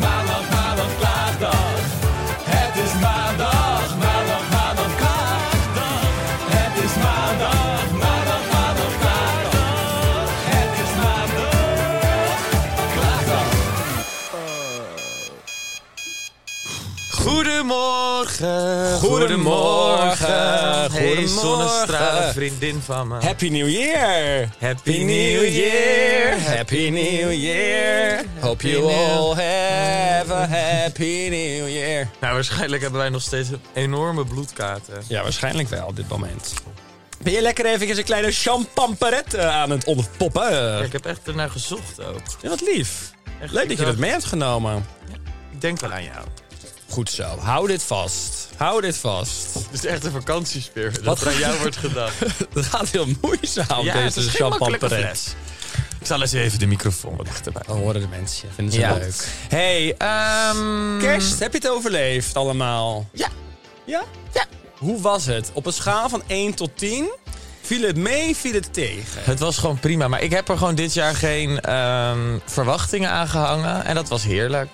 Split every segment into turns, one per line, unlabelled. maandag, maandag, klaagdag. Het is maandag, maandag, maandag, klaagdag. Het is maandag, maandag, maandag, klaagdag. Het is maandag, klaagdag.
Goedemorgen.
Goedemorgen.
Hey,
Goedemorgen.
zonnestralen vriendin van me.
Happy New Year!
Happy New Year.
Happy New Year! Hope
you all
have a happy New Year!
Nou, waarschijnlijk hebben wij nog steeds een enorme bloedkaten.
Ja, waarschijnlijk wel op dit moment. Ben je lekker even een kleine champamperet eh, aan het ontpoppen?
Ja,
Eh,
ik heb echt ernaar gezocht ook.
Ja, wat lief.
Echt,
Leuk dat
ik
je dat
dacht-
mee hebt genomen.
Ik denk wel aan jou.
Goed zo. Hou dit vast. Hou dit vast.
Het is echt een vakantiespeer. Dat
Wat?
er aan jou wordt gedacht.
Het gaat heel moeizaam,
Ja, het is
deze
geen makkelijke
champamperet.
fles. Ik zal eens even de microfoon wat Oh. dichterbij.
Dan horen de mensen. Vinden ze
Ja.
leuk. hey,
Ehm,
kerst. Heb je het overleefd allemaal?
Ja.
Ja? Ja. Hoe was het? Op een schaal van 1 tot 10? Viel het mee, viel het tegen?
Het was gewoon prima. Maar ik heb er gewoon dit jaar geen ehm, verwachtingen aan gehangen. En dat was heerlijk.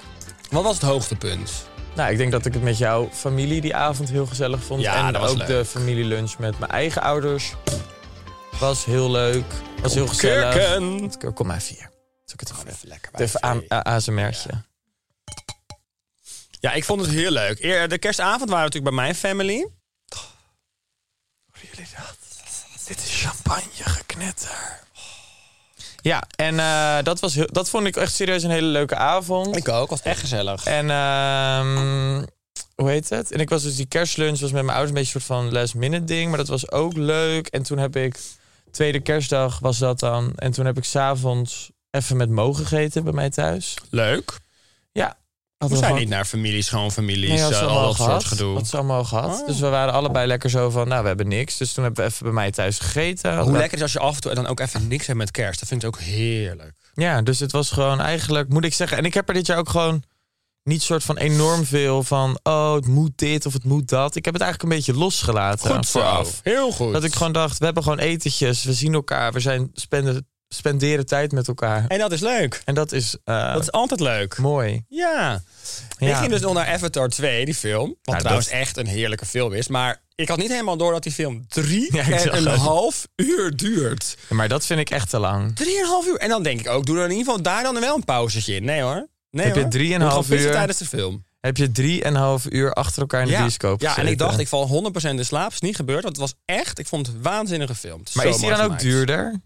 Wat was het hoogtepunt?
Nou, ik denk dat ik het met jouw familie die avond heel gezellig vond.
Ja,
en
dat was
ook
leuk.
de familielunch met mijn eigen ouders. Was heel leuk. Was heel gezellig.
Kurken.
Kom maar vier. Zal ik het gewoon even
Lekker
Even aan, aan, ASMR'tje.
Ja, ik vond het heel leuk. Eer- De kerstavond waren we natuurlijk bij mijn family.
jullie dat? Dit is champagne geknetter. Ja, en eh, dat, was heel, dat vond ik echt serieus een hele leuke avond.
ook, was echt gezellig.
En ehm, hoe heet het? En ik was dus die kerstlunch was met mijn ouders een beetje een soort van last minute ding. Maar dat was ook leuk. En toen heb ik, tweede kerstdag was dat dan. En toen heb ik s'avonds even met Mo gegeten bij mij thuis.
Leuk.
Ja.
We
Hadden
zijn
gewoon-
niet naar families, schoonfamilies,
Nee,
families,
hadden ze
al
allemaal
dat soort
gehad.
gedoe. Oh.
Had ze allemaal gehad. Dus we waren allebei lekker zo van, nou, we hebben niks. Dus toen hebben we even bij mij thuis gegeten.
Hoe lekker is als je af en toe dan ook even niks hebt met kerst. Dat vind ik ook heerlijk.
Ja, dus het was gewoon eigenlijk, moet ik zeggen. En ik heb er dit jaar ook gewoon niet soort van enorm veel van, oh, het moet dit of het moet dat. Ik heb het eigenlijk een beetje losgelaten vooraf.
Heel goed.
Dat ik gewoon dacht, we hebben gewoon etentjes, we zien elkaar, we zijn spenden, spenderen tijd met elkaar.
En dat is leuk.
En dat is, eh,
Dat is altijd leuk.
mooi.
Ja. Ik
Ja.
ging dus nog naar Avatar 2, die film. Wat
dat-
trouwens echt een heerlijke film is. Maar ik had niet helemaal door dat die film drie
Ja, ik
en
zag
een
het.
half uur duurt.
Maar dat vind ik echt te lang.
Drieënhalf uur. En dan denk ik ook, doe er in ieder geval daar dan wel een pauzetje in. Nee hoor. Nee,
Heb je
hoor.
drieënhalf
Moet gewoon pissen
uur?
tijdens de film.
Heb je drieënhalf uur achter elkaar in de bioscoop
ja, en ik
gezeten.
dacht, ik val 100% in slaap. Is niet gebeurd, want het was echt, ik vond het een waanzinnige film. Het
Maar
zo
is die
mooi
dan ook
gemaakt.
duurder?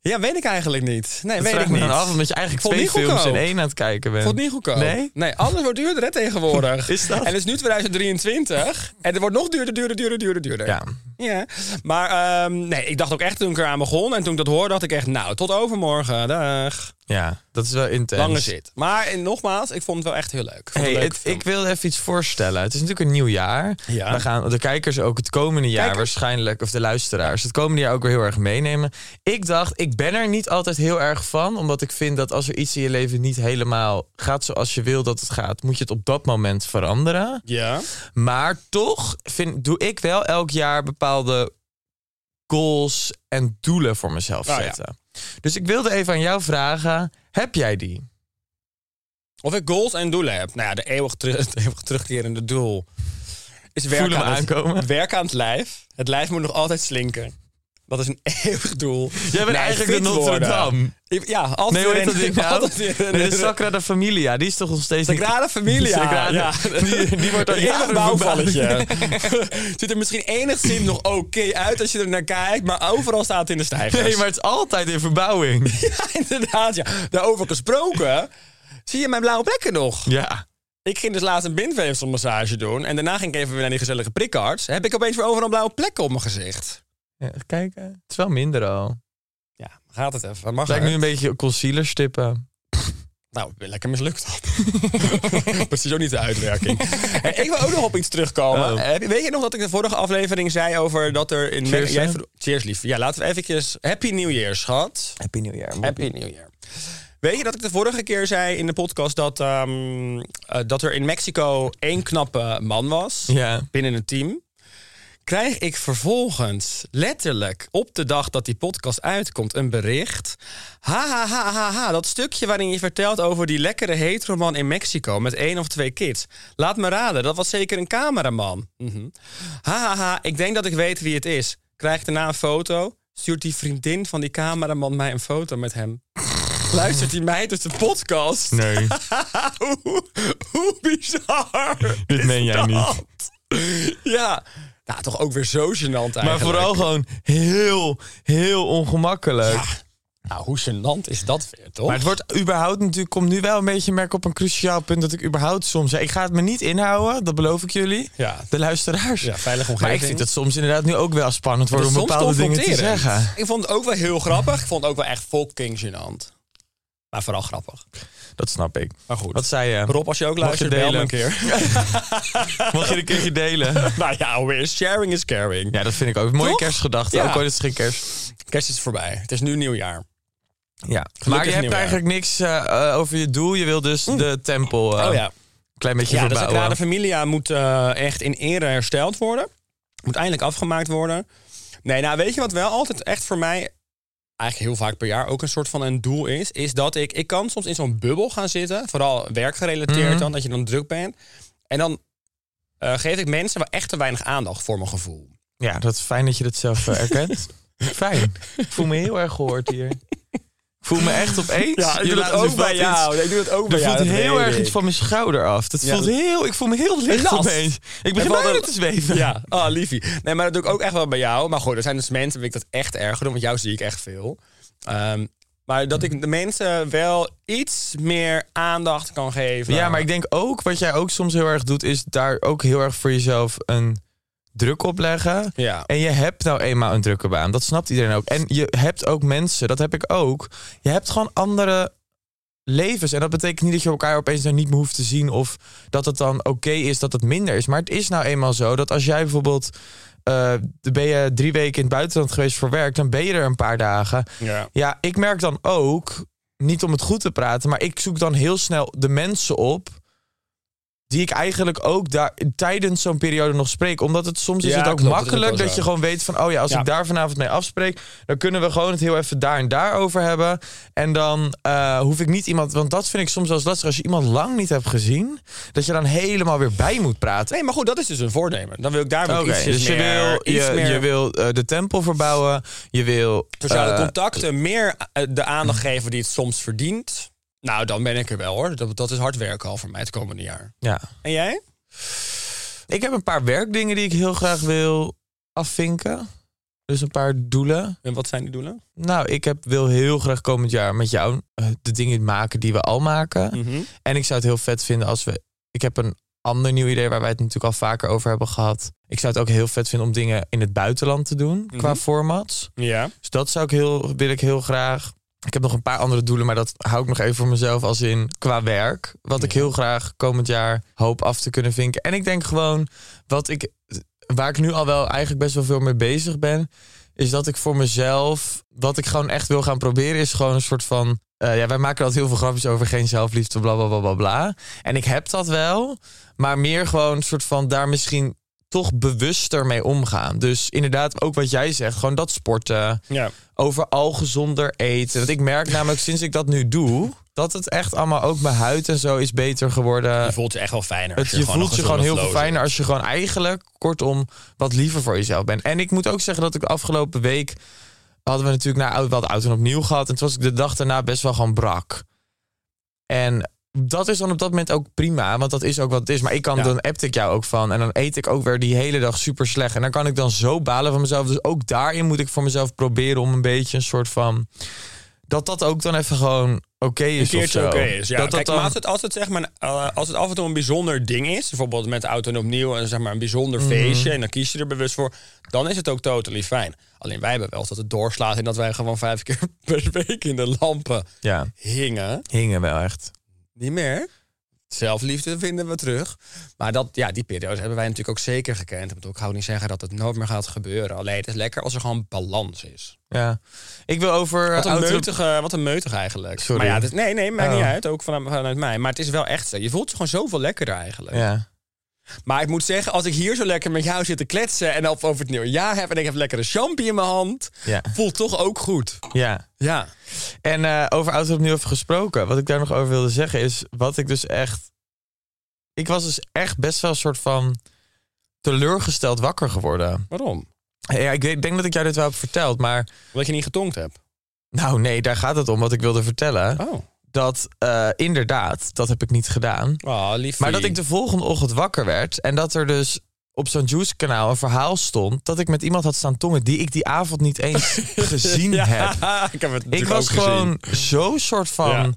Ja, weet ik eigenlijk niet. Nee,
Dat
weet
vraag
ik
me
niet.
dan af, omdat je eigenlijk
Vond
twee
niet
films in
goedkoop.
één aan het kijken bent.
Vond het niet goedkoop.
Nee?
alles wordt duurder hè, tegenwoordig.
Is dat?
En het is nu 2023 en het wordt nog duurder, duurder, duurder, duurder, duurder.
Ja.
Ja. Maar ehm, nee, ik dacht ook echt toen ik eraan begon en toen ik dat hoorde, dacht ik echt, nou, tot overmorgen, dag.
Ja, dat is wel intens.
Lange zit. Maar en nogmaals, ik vond het wel echt heel leuk. Ik vond het
Hey,
een leuke
het-
film.
ik wil even iets voorstellen. Het is natuurlijk een nieuw jaar.
Ja.
We gaan de kijkers ook het komende jaar
Kijkers?
waarschijnlijk, of de luisteraars, het komende jaar ook weer heel erg meenemen. Ik dacht, ik ben er niet altijd heel erg van, omdat ik vind dat als er iets in je leven niet helemaal gaat zoals je wil dat het gaat, moet je het op dat moment veranderen.
Ja.
Maar toch vind, doe ik wel elk jaar bepaalde goals en doelen voor mezelf
Nou ja.
zetten. Dus ik wilde even aan jou vragen, heb jij die?
Of ik goals en doelen heb. Nou ja, de eeuwig, teru- het eeuwig terugkerende doel is werk
Voelen
aan,
me
het,
aankomen.
werk aan het lijf. Het lijf moet nog altijd slinken. Dat is een eeuwig doel.
Jij bent
Nee,
eigenlijk
fit
de Notre
worden.
Dame.
Ik- Ja, altijd
Nee, hoe heet dat
een-
ding nou?
altijd een-
Nee, de Sacrada Familia, die is toch nog steeds niet...
Sagrada Familia.
Sagrada.
Ja.
Die, die wordt dan
Een eeuwig
jaren
bouwvalletje.
verbouwd.
Ziet er misschien enigszins nog oké uit als je er naar kijkt, maar overal staat het in de stijgers.
Nee, maar het is altijd in verbouwing.
Ja, inderdaad. Ja. Daarover gesproken, zie je mijn blauwe plekken nog?
Ja.
Ik ging dus laatst een bindweefselmassage doen en daarna ging ik even weer naar die gezellige prikkarts. Heb ik opeens weer overal blauwe plekken op mijn gezicht.
Ja, even kijken. Het is wel minder al.
Ja, gaat het even. Mag
Het lijkt
er.
nu een beetje concealer stippen.
Nou, ik ben lekker mislukt. Precies dus ook niet de uitwerking. Eh, ik wil ook nog op iets terugkomen.
Oh.
Eh, weet je nog dat ik de vorige aflevering zei over dat er in...
Cheers,
jij
hè?
vro- Cheers, lief. Ja, laten we eventjes... Happy New Year, schat.
Happy New Year.
Happy New Year. Weet je dat ik de vorige keer zei in de podcast dat, ehm, eh, dat er in Mexico één knappe man was
Ja.
binnen het team? Krijg ik vervolgens letterlijk op de dag dat die podcast uitkomt een bericht. Ha ha ha ha ha, dat stukje waarin je vertelt over die lekkere heteroman in Mexico met één of twee kids. Laat me raden, dat was zeker een cameraman. Mhm. Ha ha ha, ik denk dat ik weet wie het is. Krijg daarna een foto. Stuurt die vriendin van die cameraman mij een foto met hem. Luistert die meid dus de podcast?
Nee,
hoe, hoe bizar.
dit meen jij niet.
dat? Ja, nou toch ook weer zo gênant eigenlijk.
Maar vooral gewoon heel, heel ongemakkelijk.
Nou, hoe gênant is dat weer, toch?
Maar het wordt überhaupt natuurlijk, komt nu wel een beetje merk op een cruciaal punt dat ik überhaupt soms. Ik ga het me niet inhouden, dat beloof ik jullie.
Ja.
De luisteraars.
Ja, veilige
Maar
omgeving.
ik vind het soms inderdaad nu ook wel spannend
Het
worden
is
om
soms
bepaalde dingen te
confronterend.
zeggen.
Ik vond het ook wel heel grappig. Ik vond het ook wel echt fucking gênant. Maar vooral grappig.
Dat snap ik.
Maar goed.
Wat zei je?
Rob, als je ook
Mag
luistert,
je
bel me
delen?
een keer.
Mag je een keertje delen?
nou ja, alweer. Sharing is caring.
Ja, dat vind ik ook. Mooie
Toch?
kerstgedachte.
Ja.
Ook al is het geen kerst.
Kerst is voorbij. Het is nu nieuwjaar.
Ja. maar je hebt
nieuwjaar. Hm.
eigenlijk niks eh, eh, over je doel. Je wil dus de tempel eh,
Oh ja.
een klein beetje
oh, Ja, dus de
verbouwen.
Sagrada Familia moet eh, echt in ere hersteld worden. Moet eindelijk afgemaakt worden. Nee, nou weet je wat wel altijd echt voor mij... eigenlijk heel vaak per jaar ook een soort van een doel is... is dat ik... Ik kan soms in zo'n bubbel gaan zitten. Vooral werkgerelateerd dan, dat je dan druk bent. En dan eh, geef ik mensen wel echt te weinig aandacht voor mijn gevoel.
Ja, dat is fijn dat je dat zelf eh, erkent. fijn. Ik voel me heel erg gehoord hier. Ik voel me echt opeens. je laat nu wat iets-
Ik doe dat ook
Er voelt heel erg iets van mijn schouder af. Dat
Ja,
voelt
dat-
heel, ik voel me heel licht
last.
opeens. Ik
En
begin
wat
bijna
een-
te zweven.
Ja, ah, liefie. Nee, maar dat doe ik ook echt wel bij jou. Maar goed, er zijn dus mensen waar ik dat echt erger doe. Want jou zie ik echt veel. Ehm, maar dat ik de mensen wel iets meer aandacht kan geven.
Ja, maar ik denk ook, wat jij ook soms heel erg doet, is daar ook heel erg voor jezelf een druk op leggen.
Ja.
En je hebt nou eenmaal een drukke baan. Dat snapt iedereen ook. En je hebt ook mensen, dat heb ik ook. Je hebt gewoon andere levens. En dat betekent niet dat je elkaar opeens dan niet meer hoeft te zien. Of dat het dan oké is dat het minder is. Maar het is nou eenmaal zo dat als jij bijvoorbeeld. eh, ben je drie weken in het buitenland geweest voor werk, dan ben je er een paar dagen.
Ja.
Ja, ik merk dan ook, niet om het goed te praten, maar ik zoek dan heel snel de mensen op. Die ik eigenlijk ook daar tijdens zo'n periode nog spreek. Omdat het soms is
Ja,
het ook
klopt, dat is
makkelijk
ook
dat,
wel zo.
je gewoon weet van... oh ja, als
Ja.
ik daar vanavond mee afspreek... dan kunnen we gewoon het heel even daar en daar over hebben. En dan eh, hoef ik niet iemand... want dat vind ik soms wel eens lastig. Als je iemand lang niet hebt gezien... dat je dan helemaal weer bij moet praten.
Nee, maar goed, dat is dus een voornemen. Dan wil ik daar wel
Oké,
iets
dus je
meer...
wil,
iets
je,
meer
je wil eh, de tempel verbouwen. Je wil...
sociale
eh,
contacten, meer eh, de aandacht geven die het soms verdient. Nou, dan ben ik er wel hoor. Dat, dat is hard werken al voor mij het komende jaar.
ja.
En jij?
Ik heb een paar werkdingen die ik heel graag wil afvinken. Dus een paar doelen.
En wat zijn die doelen?
Nou, ik heb, wil heel graag komend jaar met jou eh, de dingen maken die we al maken. En ik zou het heel vet vinden als we... Ik heb een ander nieuw idee waar wij het natuurlijk al vaker over hebben gehad. Ik zou het ook heel vet vinden om dingen in het buitenland te doen qua formats.
Ja.
Dus dat zou ik heel, wil ik heel graag. Ik heb nog een paar andere doelen, maar dat hou ik nog even voor mezelf als in qua werk. Wat ik heel graag komend jaar hoop af te kunnen vinken. En ik denk gewoon, wat ik, waar ik nu al wel eigenlijk best wel veel mee bezig ben, is dat ik voor mezelf, wat ik gewoon echt wil gaan proberen, is gewoon een soort van, eh, ja, wij maken er altijd heel veel grapjes over geen zelfliefde, bla bla bla bla bla. En ik heb dat wel, maar meer gewoon een soort van daar misschien toch bewuster mee omgaan. Dus inderdaad, ook wat jij zegt, gewoon dat sporten.
Ja.
Overal gezonder eten. Want ik merk namelijk sinds ik dat nu doe, dat het echt allemaal ook mijn huid en zo is beter geworden.
Je voelt je echt wel fijner. als
Eh, Het, je
gewoon
voelt je
een
gewoon heel
gezonde
veel
flow
fijner als je gewoon eigenlijk, kortom, wat liever voor jezelf bent. En ik moet ook zeggen dat ik de afgelopen week hadden we natuurlijk na oud wat oud en opnieuw gehad. En toen was ik de dag daarna best wel gewoon brak. En dat is dan op dat moment ook prima, want dat is ook wat het is. Maar ik kan,
Ja.
dan appt ik jou ook van. En dan eet ik ook weer die hele dag super slecht. En dan kan ik dan zo balen van mezelf. Dus ook daarin moet ik voor mezelf proberen om een beetje een soort van... Dat dat ook dan even gewoon oké
Een
is of
keertje
zo.
oké is. Ja.
dat dat
Kijk,
dan-
maar als het, als, het, zeg maar, eh, als het af en toe een bijzonder ding is, bijvoorbeeld met oud en opnieuw en zeg maar een bijzonder
Mhm.
feestje, en dan kies je er bewust voor, dan is het ook totally fijn. Alleen wij hebben wel eens dat het doorslaat en dat wij gewoon vijf keer per week in de lampen
Ja,
hingen.
hingen wel echt.
Niet meer. Zelfliefde vinden we terug. Maar dat, ja, die periode hebben wij natuurlijk ook zeker gekend. Ik bedoel, ik hou niet zeggen dat het nooit meer gaat gebeuren. Alleen het is lekker als er gewoon balans is.
Ja. Ik wil over... eh,
Wat een,
auto-
meutige, wat een meutig eigenlijk.
Sorry.
Maar ja, het is- nee, nee, maakt
Oh.
niet uit. Ook vanuit, vanuit mij. Maar het is wel echt zo. Je voelt je gewoon zoveel lekkerder eigenlijk.
Ja.
Maar ik moet zeggen, als ik hier zo lekker met jou zit te kletsen... en of over het nieuwe jaar heb en ik heb lekkere champie in mijn hand...
Ja.
voelt toch ook goed.
Ja.
Ja.
En eh, over auto opnieuw even gesproken. Wat ik daar nog over wilde zeggen is... Wat ik dus echt... Ik was dus echt best wel een soort van... teleurgesteld wakker geworden.
Waarom?
Ja, ik weet- denk dat ik jou dit wel heb verteld, maar...
Omdat je niet getonkt hebt.
Nou nee, daar gaat het om wat ik wilde vertellen.
Oh.
Dat eh, inderdaad, dat heb ik niet gedaan.
Oh, lief.
Maar dat ik de volgende ochtend wakker werd en dat er dus op zo'n Juice-kanaal een verhaal stond... dat ik met iemand had staan tongen die ik die avond niet eens gezien
ja,
heb.
ik heb het
Ik
natuurlijk
was
ook gezien.
gewoon zo soort van.
Ja.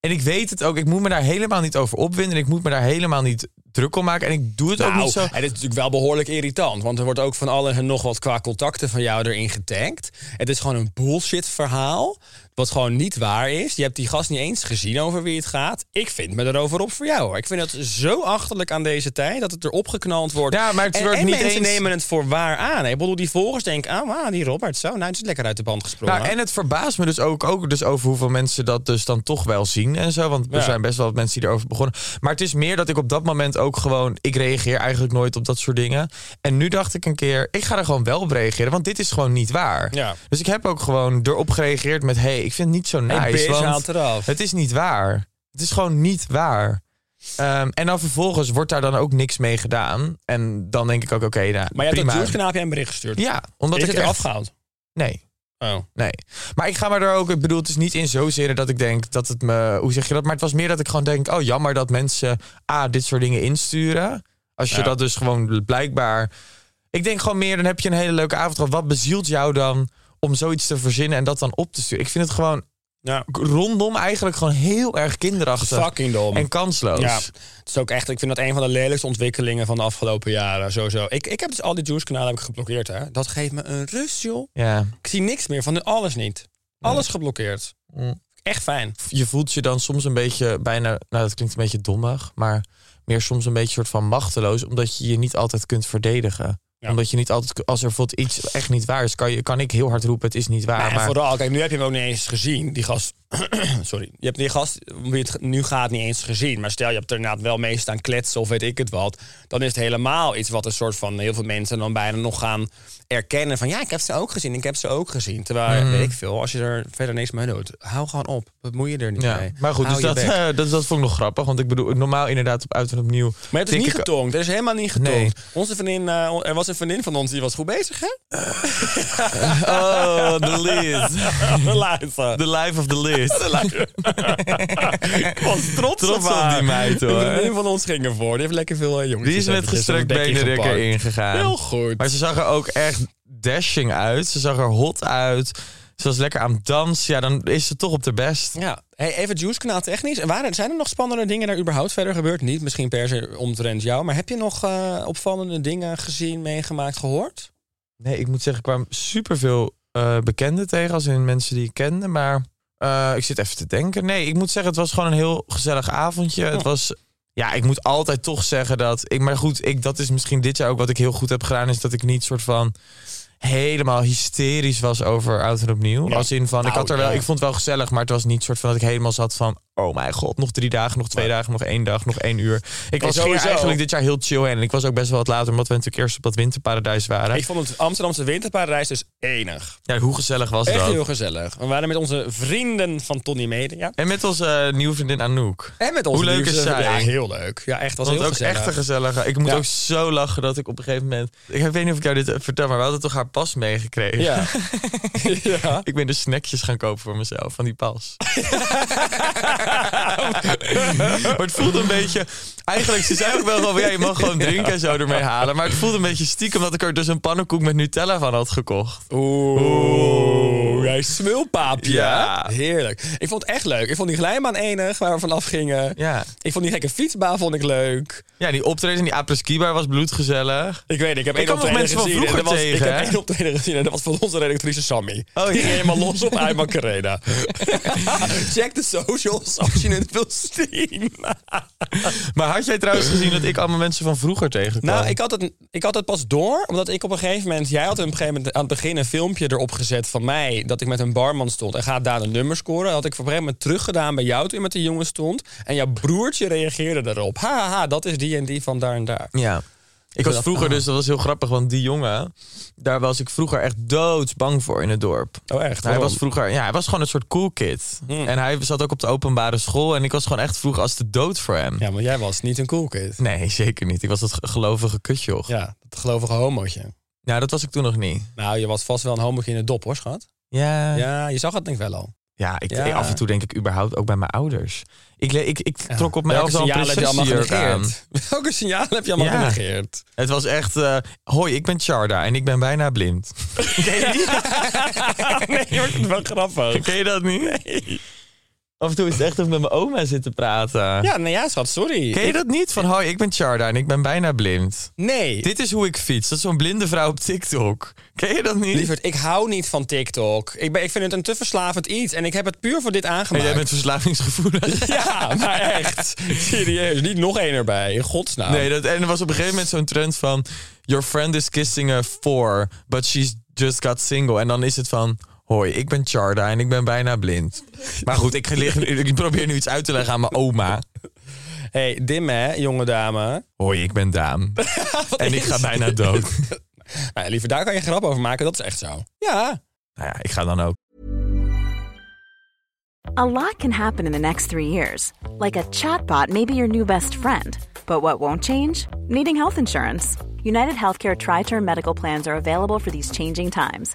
En ik weet het ook. Ik moet me daar helemaal niet over opwinden. En ik moet me daar helemaal niet druk om maken. En ik doe het ook
Nou,
niet zo.
en het is natuurlijk wel behoorlijk irritant. Want er wordt ook van alles en nog wat qua contacten van jou erin getankt. Het is gewoon een bullshit verhaal. Wat gewoon niet waar is. Je hebt die gast niet eens gezien over wie het gaat. Ik vind me erover op voor jou. Hoor. Ik vind het zo achterlijk aan deze tijd dat het erop geknald wordt.
Ja, maar het
en,
wordt
en
niet
mensen
eens-
nemen het voor waar aan. Ik bedoel, die volgers denken, ah, maar die Robert, zo, nou, het is lekker uit de band gesprongen.
Nou, en het verbaast me dus ook, ook dus over hoeveel mensen dat dus dan toch wel zien en zo. Want er
Ja.
zijn best wel wat mensen die erover begonnen. Maar het is meer dat ik op dat moment ook gewoon... Ik reageer eigenlijk nooit op dat soort dingen. En nu dacht ik een keer, ik ga er gewoon wel op reageren. Want dit is gewoon niet waar.
Ja.
Dus ik heb ook gewoon erop gereageerd met... hey, ik vind het niet zo nice.
Hey, bitch,
want
haal het eraf.
Het is niet waar. Het is gewoon niet waar. Ehm, en dan vervolgens wordt daar dan ook niks mee gedaan. En dan denk ik ook, oké, nou,
maar je hebt
prima.
dat Juice-kanaal heb jij een bericht gestuurd.
Ja, omdat
is
ik
het eraf
echt-
gehaald?
Nee,
Oh.
Nee. Maar ik ga maar daar ook. Ik bedoel, het is niet in zozeer dat ik denk dat het me. Hoe zeg je dat? Maar het was meer dat ik gewoon denk. Oh, jammer dat mensen. A, dit soort dingen insturen. Als je
Ja.
dat dus gewoon blijkbaar. Ik denk gewoon meer. Dan heb je een hele leuke avond gehad. Wat bezielt jou dan om zoiets te verzinnen en dat dan op te sturen? Ik vind het gewoon
Ja.
rondom eigenlijk gewoon heel erg kinderachtig.
Fucking dom.
En kansloos.
Ja, het is ook echt. Ik vind dat een van de lelijkste ontwikkelingen van de afgelopen jaren. Sowieso. Ik, ik heb dus al die juice kanalen heb ik geblokkeerd. Hè. Dat geeft me een rust, joh.
ja.
Ik zie niks meer van alles niet. Alles geblokkeerd.
Mm.
Echt fijn.
je voelt je dan soms een beetje bijna, nou dat klinkt een beetje dommig, maar meer soms een beetje soort van machteloos, omdat je je niet altijd kunt verdedigen.
Ja.
Omdat je niet altijd, als er bijvoorbeeld iets echt niet waar is, kan, je, kan ik heel hard roepen, het is niet waar.
en
maar
vooral, kijk, nu heb je hem ook niet eens gezien. Die gast. Sorry. Je hebt die gast om wie het nu gaat niet eens gezien. Maar stel je hebt er inderdaad wel mee staan kletsen of weet ik het wat. Dan is het helemaal iets wat een soort van heel veel mensen dan bijna nog gaan erkennen. Van ja, ik heb ze ook gezien. Ik heb ze ook gezien. Terwijl,
Mhm.
weet ik veel, als je er verder niks mee doet, hou gewoon op. Bemoei je er niet
ja.
mee.
maar goed,
Hou
dus
je
dat,
bek.
eh, dat, dat vond ik nog grappig, want ik bedoel, normaal inderdaad op uit en opnieuw.
Maar het is
tik
niet
ik-
getonkt. Er is helemaal niet getonkt.
Nee.
Onze vriendin, eh, on- er was een vriendin van ons die was goed bezig, hè?
Oh, de list.
Luister.
The life of the list.
Ik was trots,
Trots op
haar.
die meid, hoor.
Een vriendin van ons ging ervoor. Die heeft lekker veel eh, jongetjes.
Die is met
eventjes
gestrekt
een bekje
benen er
gepakt.
keer ingegaan.
Heel goed.
Maar ze zag er ook echt dashing uit. Ze zag er hot uit. Ze was lekker aan het dansen. Ja, dan is ze toch op de best.
Ja, hey, even Juice kanaal technisch. En waren, zijn er nog spannende dingen daar überhaupt verder gebeurd? Niet misschien per se omtrent jou, maar heb je nog eh, opvallende dingen gezien, meegemaakt, gehoord?
Nee, ik moet zeggen, ik kwam superveel eh bekenden tegen. Als in mensen die ik kende. Maar eh, ik zit even te denken. Nee, ik moet zeggen, het was gewoon een heel gezellig avondje. Het was... Ja, ik moet altijd toch zeggen dat... Ik, maar goed, ik, dat is misschien dit jaar ook wat ik heel goed heb gedaan. Is dat ik niet soort van... helemaal hysterisch was over Oud en Opnieuw.
Ja.
Als in van, ik,
Nou,
had er wel,
ja.
ik vond het wel gezellig, maar het was niet soort van dat ik helemaal zat van... Oh mijn god, nog drie dagen, nog twee dagen, nog één dag, nog één uur. Ik was ging er
sowieso-
eigenlijk dit jaar heel chill heen. En ik was ook best wel wat later, omdat we natuurlijk eerst op dat winterparadijs waren.
Ik vond het Amsterdamse winterparadijs dus enig.
Ja, hoe gezellig was
Echt
dat?
heel gezellig. We waren met onze vrienden van Tony Media.
En met onze eh, nieuwe vriendin Anouk.
En met onze
Hoe leuk
nieuwste-
is zij?
Ja, heel leuk. Ja, echt was
Want
heel
ook
gezellig.
echt een gezellige. Ik moet
Ja.
ook zo lachen dat ik op een gegeven moment. Ik weet niet of ik jou dit eh, vertel, maar we hadden toch haar pas meegekregen.
Ja. ja.
Ik ben dus snackjes gaan kopen voor mezelf van die pas. maar het voelde een beetje. Eigenlijk, ze zei ook wel gewoon: ja, je mag gewoon drinken en zo ermee halen. Maar het voelde een beetje stiekem dat ik er dus een pannenkoek met Nutella van had gekocht.
Oeh, jij smulpaapje.
Ja.
Heerlijk. Ik vond het echt leuk. Ik vond die glijbaan enig, waar we vanaf gingen.
Ja,
Ik vond die gekke fietsbaan vond ik leuk.
ja die optreden in die apres bar was bloedgezellig.
Ik weet niet, ik heb
Ik
één
kwam nog
optreden
mensen van
gezien. en
vroeger
dat was,
tegen,
ik
hè?
heb één optreden gezien en dat was van onze redactrice Sammy.
Oh,
die
ja.
ging helemaal los op Ayman Carrera. Check de socials als je het wilt zien.
Maar had jij trouwens gezien dat ik allemaal mensen van vroeger tegenkwam?
Nou, ik had, het, ik had het pas door, omdat ik op een gegeven moment... Jij had op een gegeven moment aan het begin een filmpje erop gezet van mij... dat ik met een barman stond en ga daar een nummer scoren. Dat had ik op een gegeven moment teruggedaan bij jou toen je met die jongen stond. En jouw broertje reageerde daarop. Ha, ha, ha, dat is die en die van daar en daar.
Ja. Ik was
dacht,
vroeger dus, dat was heel grappig, want die jongen, daar was ik vroeger echt doodsbang voor in het dorp.
Oh, echt?
Hij
Waarom?
was vroeger, ja, hij was gewoon een soort cool kid.
Hmm.
En hij zat ook op de openbare school en ik was gewoon echt vroeg als de dood voor hem.
Ja, maar jij was niet een cool kid.
Nee, zeker niet. Ik was dat ge- gelovige kutjoch. Ja.
Ja, dat gelovige homootje.
Nou, dat was ik toen nog niet.
Nou, je was vast wel een homootje in de dop, hoor, schat.
Ja, ja.
Ja, je zag het denk ik wel al.
ik,
Ja.
ik- af en toe denk ik überhaupt ook bij mijn ouders. Ik, le- ik, ik
Ja.
trok op mijn elfde al een prinsessenjurk aan.
Welke signalen heb je allemaal
Ja.
genegeerd?
Het was echt, eh, hoi, ik ben Charda en ik ben bijna blind.
nee, maar het is wel grappig.
Ken je dat niet? Af en toe is het echt of ik met mijn oma zit te praten.
Ja, nou ja, schat, sorry.
Ken je dat niet? Van hoi, ik ben Charda en ik ben bijna blind.
Nee.
Dit is hoe ik fiets. Dat is zo'n blinde vrouw op TikTok. Ken je dat niet?
Lieverd, ik hou niet van TikTok. Ik, ben, ik vind het een te verslavend iets. En ik heb het puur voor dit
En
aangemaakt.
jij bent verslavingsgevoelig.
Ja, maar echt. Serieus, niet nog één erbij. In godsnaam.
Nee, dat, en er was op een gegeven moment zo'n trend van... Your friend is kissing a four, but she's just got single. En dan is het van... Hoi, ik ben Charda en ik ben bijna blind. Maar goed, ik, lig- ik probeer nu iets uit te leggen aan mijn oma.
hey, Dim, hè, jonge dame.
Hoi, ik ben Daan. en ik ga bijna dood.
Nou, liever, daar kan je een grap over maken. Dat is echt zo. Ja.
Nou ja, ik ga dan ook.
A lot can happen in the next three years. Like a chatbot may be your new best friend. But what won't change? Needing health insurance. United Healthcare Tri Term Medical Plans are available for these changing times.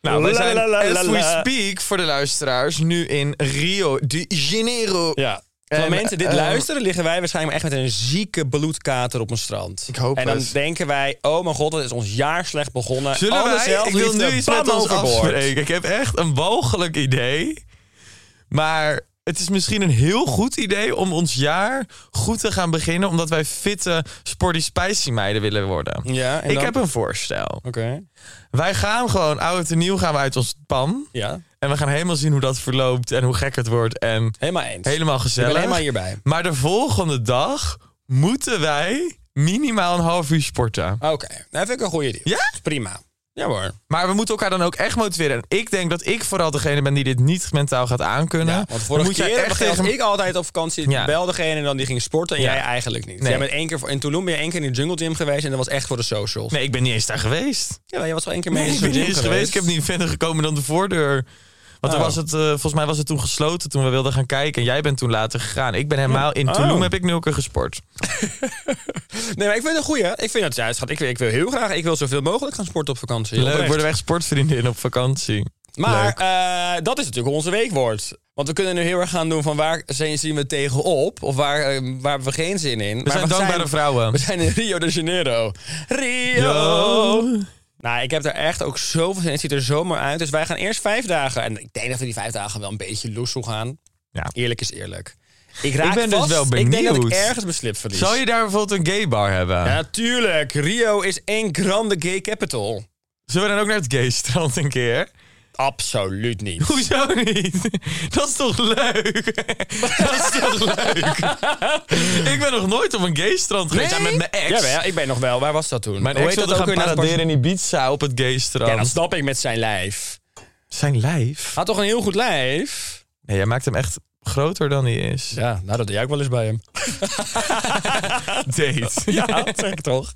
Nou, wij
La,
zijn,
la, la, la,
as we
la.
speak, voor de luisteraars, nu in Rio de Janeiro.
Ja. Terwijl
En,
mensen dit
eh,
luisteren, liggen wij waarschijnlijk echt met een zieke bloedkater op een strand.
Ik hoop
En dan
het.
denken wij, oh mijn god, dat is ons jaar slecht begonnen.
Zullen
Alle
wij, Oh, ik
zelfliefde,
wil nu iets met
bam,
ons
overboord.
afspreken. Ik heb echt een walgelijk idee. Maar het is misschien een heel goed idee om ons jaar goed te gaan beginnen... omdat wij fitte, sporty, spicy meiden willen worden.
Ja, en
ik
dan?
heb een voorstel.
Oké,
Wij gaan gewoon, oud en nieuw, gaan we uit ons pan.
ja.
En we gaan helemaal zien hoe dat verloopt en hoe gek het wordt. En
Helemaal eens.
Helemaal gezellig.
Ik ben helemaal hierbij.
Maar de volgende dag moeten wij minimaal een half uur sporten.
Oké, nou vind ik een goede idee.
Ja?
Is Prima. Ja hoor.
Maar we moeten elkaar dan ook echt motiveren. En ik denk dat ik vooral degene ben die dit niet mentaal gaat aankunnen.
Ja,
Dan
want vorige
moet jij
keer echt tegen... ik altijd op vakantie
Ja.
wel degene en dan die ging sporten en
Ja.
jij eigenlijk niet.
Nee.
Jij bent één keer, voor- in Tulum ben je één keer in de jungle gym geweest en dat was echt voor de socials.
Nee, ik ben niet eens daar geweest.
Ja, maar jij was wel één keer mee
ik
in de
ben
gym
niet eens
geweest.
geweest. Ik heb niet verder gekomen dan de voordeur. Want
Oh.
toen was het, eh, volgens mij was het toen gesloten toen we wilden gaan kijken. En jij bent toen later gegaan. Ik ben helemaal
Oh.
in Tulum heb ik nul keer gesport.
Nee, maar ik vind het een goeie. Ik vind dat juist. schat, Ik, ik wil heel graag, ik wil zoveel mogelijk gaan sporten op vakantie.
Leuk,
Oprecht.
worden we echt sportvriendinnen op vakantie.
Maar eh, dat is natuurlijk onze weekwoord. Want we kunnen nu heel erg gaan doen van waar zijn- zien we tegenop of waar, eh, waar hebben we geen zin in. We maar
zijn dankbare vrouwen.
We zijn in Rio de Janeiro. Rio!
Yo.
Nou, ik heb er echt ook zoveel zin in. Het ziet er zomaar uit. Dus wij gaan eerst vijf dagen. En ik denk dat we die vijf dagen wel een beetje loesel gaan.
Ja.
Eerlijk is eerlijk. Ik, raak
ben dus
vast.
wel
Ik denk dat
benieuwd.
ik ergens mijn slip verlies.
Zou je daar bijvoorbeeld een gay bar hebben?
Ja, natuurlijk. Rio is één grande gay capital.
Zullen we dan ook naar het gay strand een keer?
Absoluut niet.
Hoezo niet? Dat is toch leuk? Dat is toch leuk? Ik ben nog nooit op een gay strand geweest. Ja, met mijn ex.
Ja, wel, ik ben nog wel. Waar was dat toen?
Mijn
Hoe
ex
heet
wilde
dat ook
gaan
weer naast
paraderen
Bar-
in Ibiza op het gay strand.
Ja, dat Ah. snap ik met zijn lijf.
Zijn lijf?
Had toch een heel goed lijf?
Nee, jij maakt hem echt groter dan hij is.
Ja, nou dat deed jij ook wel eens bij hem.
Date.
Ja, zeg toch.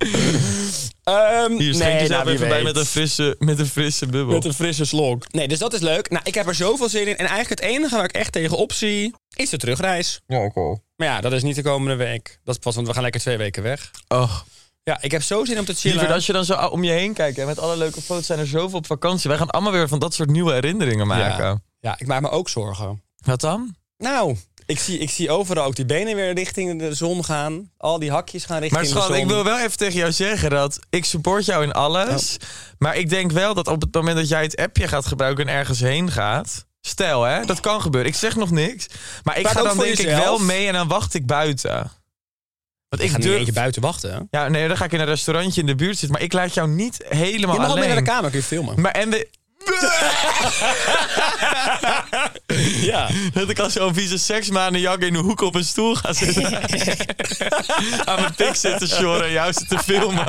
Ehm
Hier, schenk
nee,
jezelf
nou, wie
even bij
weet.
met een frisse, met een frisse bubbel.
Met een frisse slok. Nee, dus dat is leuk. Nou, ik heb er zoveel zin in. En eigenlijk het enige waar ik echt tegenop zie, is de terugreis.
Ja, ook al.
Maar ja, dat is niet de komende week. Dat is pas, want we gaan lekker twee weken weg.
Och,
Ja, ik heb zo zin om te chillen.
liever dat je dan zo om je heen kijkt. En met alle leuke foto's zijn er zoveel op vakantie. Wij gaan allemaal weer van dat soort nieuwe herinneringen maken.
ja. ja, ik maak me ook zorgen.
Wat dan?
Nou, ik zie, ik zie overal ook die benen weer richting de zon gaan. Al die hakjes gaan richting
Maar
de
schat,
zon.
ik wil wel even tegen jou zeggen dat ik support jou in alles. Maar ik denk wel dat op het moment dat jij het appje gaat gebruiken en ergens heen gaat. Stel hè, dat kan gebeuren. Ik zeg nog niks. Maar ik
Praat
ga
ook
dan
voor
denk ik
jezelf.
wel mee en dan wacht ik buiten.
Ik
Want ik
ga nu
durf...
eentje buiten wachten. hè?
Ja, nee, dan ga ik in een restaurantje in de buurt zitten. Maar ik laat jou niet helemaal
Je mag ook mee
alleen.
naar de kamer, kun je filmen.
Maar en we...
Ja.
Dat ik als zo'n vieze seksmanen jak in de hoek op een stoel ga zitten. Aan mijn pik zitten sjoren en jou zitten filmen.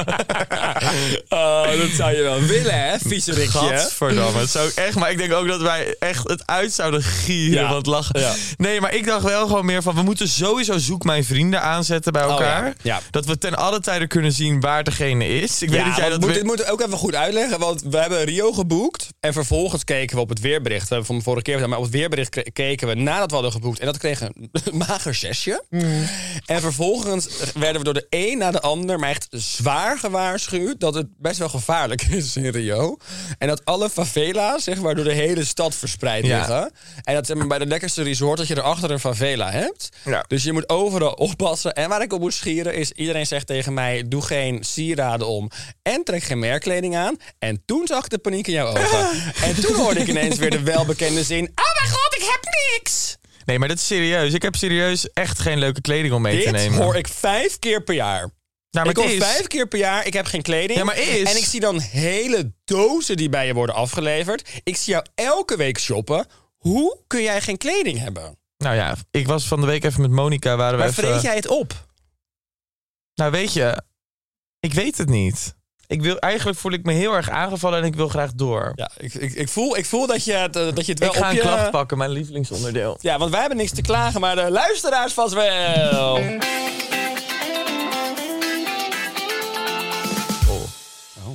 Oh, dat zou je wel willen, hè? Vieze rikje.
Gadverdamme, het zou ik echt. Maar ik denk ook dat wij echt het uit zouden gieren
Ja,
van het lachen.
ja.
Nee, maar ik dacht wel gewoon meer van... we moeten sowieso zoek mijn vrienden aanzetten bij elkaar.
Oh, ja, ja.
Dat we ten alle tijde kunnen zien waar degene is. Ik weet dat jij
want
dat...
moet,
weer-
dit moet ik ook even goed uitleggen, want we hebben Rio geboekt en vervolgens keken we op het weerbericht. We hebben van de vorige keer gedaan, maar op het weerbericht kre- keken we nadat we hadden geboekt en dat kreeg een mager zesje.
Mm.
En vervolgens werden we door de een naar de ander, maar echt zwaar gewaarschuwd dat het best wel gevaarlijk is in Rio en dat alle favela's zeg maar door de hele stad verspreid
Ja.
liggen. En dat is bij de lekkerste resort dat je erachter een favela hebt.
Ja.
Dus je moet overal oppassen. En waar ik op moet schieren is... iedereen zegt tegen mij... doe geen sieraden om en trek geen merkkleding aan. En toen zag ik de paniek in jouw ogen. En toen hoorde ik ineens weer de welbekende zin... oh mijn god, ik heb niks!
Nee, maar dat is serieus. Ik heb serieus echt geen leuke kleding om mee te
Dit
nemen.
hoor ik vijf keer per jaar.
Nou, maar
ik hoor
het is-
vijf keer per jaar, ik heb geen kleding.
Ja, maar is.
En ik zie dan hele dozen die bij je worden afgeleverd. Ik zie jou elke week shoppen. Hoe kun jij geen kleding hebben?
Nou ja, ik was van de week even met Monica. Waren we
Waar
even...
vreet jij het op?
Nou, weet je, ik weet het niet. Ik wil, eigenlijk voel ik me heel erg aangevallen en ik wil graag door.
Ja, ik, ik, ik, voel, ik voel dat je, het, eh, dat je het wel
ik ga
op
een
je...
klacht pakken, mijn lievelingsonderdeel.
Ja, want wij hebben niks te klagen, maar de luisteraars vast wel.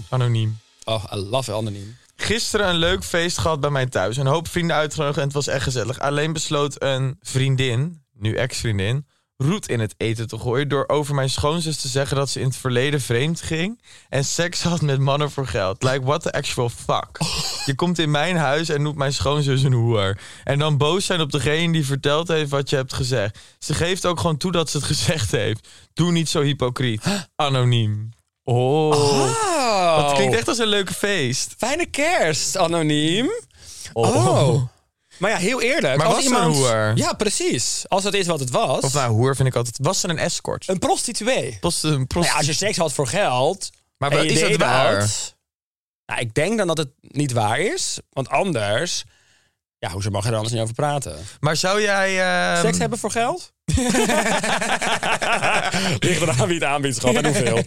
Anoniem.
Oh, I love it, anoniem.
Gisteren een leuk feest gehad bij mij thuis. Een hoop vrienden uitgenodigd en het was echt gezellig. Alleen besloot een vriendin, nu ex-vriendin, roet in het eten te gooien... door over mijn schoonzus te zeggen dat ze in het verleden vreemd ging... en seks had met mannen voor geld. Like, what the actual fuck? Je komt in mijn huis en noemt mijn schoonzus een hoer. En dan boos zijn op degene die verteld heeft wat je hebt gezegd. Ze geeft ook gewoon toe dat ze het gezegd heeft. Doe niet zo hypocriet. Anoniem. Oh,
Oh,
dat klinkt echt als een leuke feest.
Fijne kerst, anoniem. Oh. Maar ja, heel eerlijk.
Maar
als
was er
iemand...
hoer?
Ja, precies. Als dat is wat het was.
Of nou, hoer vind ik altijd. Was ze een escort?
Een prostituee.
Was ze een
Nou ja, als je seks had voor geld...
Maar
en
wa-
je
is
deed
het waar?
dat- Nou, ik denk dan dat het niet waar is. Want anders... Ja, hoezo mag je er anders niet over praten?
Maar zou jij... ehm,
Seks hebben voor geld? Ligt eraan wie het aanbiedt, schat. En hoeveel.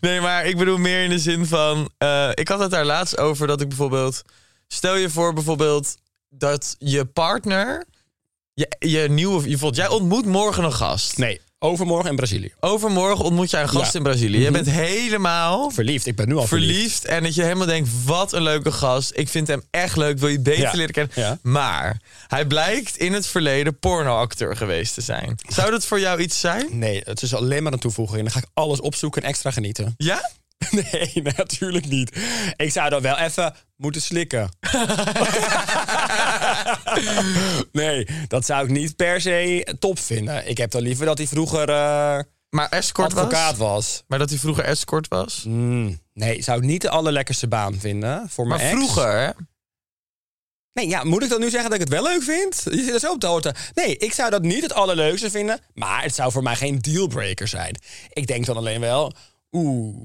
Nee, maar ik bedoel meer in de zin van... eh, ik had het daar laatst over dat ik bijvoorbeeld... Stel je voor bijvoorbeeld dat je partner... Je, je nieuwe... Je, bijvoorbeeld, jij ontmoet morgen een gast.
Nee, overmorgen in Brazilië.
Overmorgen ontmoet jij een gast
Ja. Mhm.
in Brazilië. Je bent helemaal...
Verliefd, ik ben nu al verliefd.
verliefd en dat je helemaal denkt, wat een leuke gast. Ik vind hem echt leuk, wil je beter
Ja.
leren kennen.
Ja.
Maar hij blijkt in het verleden pornoacteur geweest te zijn. Zou dat voor jou iets zijn?
Nee, het is alleen maar een toevoeging. Dan ga ik alles opzoeken en extra genieten.
Ja?
Nee, natuurlijk niet. Ik zou dan wel even moeten slikken. nee, dat zou ik niet per se top vinden. Ik heb dan liever dat hij vroeger eh,
Maar escort
advocaat
was?
was.
Maar dat hij vroeger escort was?
Mm, nee, zou ik niet de allerlekkerste baan vinden voor
Maar
mijn ex.
vroeger, hè?
Nee, ja, moet ik dan nu zeggen dat ik het wel leuk vind? Je zit er zo op te horen. Nee, ik zou dat niet het allerleukste vinden. Maar het zou voor mij geen dealbreaker zijn. Ik denk dan alleen wel... Oeh...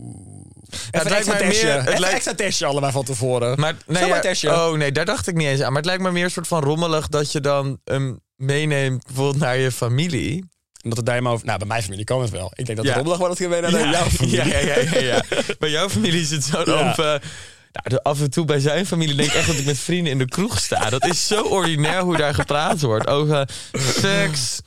Even
lijkt
extra
mij
testje.
meer- het
Even
lijkt-
extra testje allemaal van tevoren.
Maar, nee,
Zomaar
ja,
testje.
oh nee, daar dacht ik niet eens aan. Maar het lijkt me meer een soort van rommelig dat je dan hem meeneemt bijvoorbeeld naar je familie.
Omdat het daar helemaal over... Nou, bij mijn familie kan het wel. Ik denk dat
Ja.
de rommelag wel het geweest naar jouw familie.
Ja, ja, ja, ja, ja. Bij jouw familie is het zo
Ja.
open. Nou, de- af en toe bij zijn familie denk ik echt dat ik met vrienden in de kroeg sta. Dat is zo ordinair hoe daar gepraat wordt. Over seks,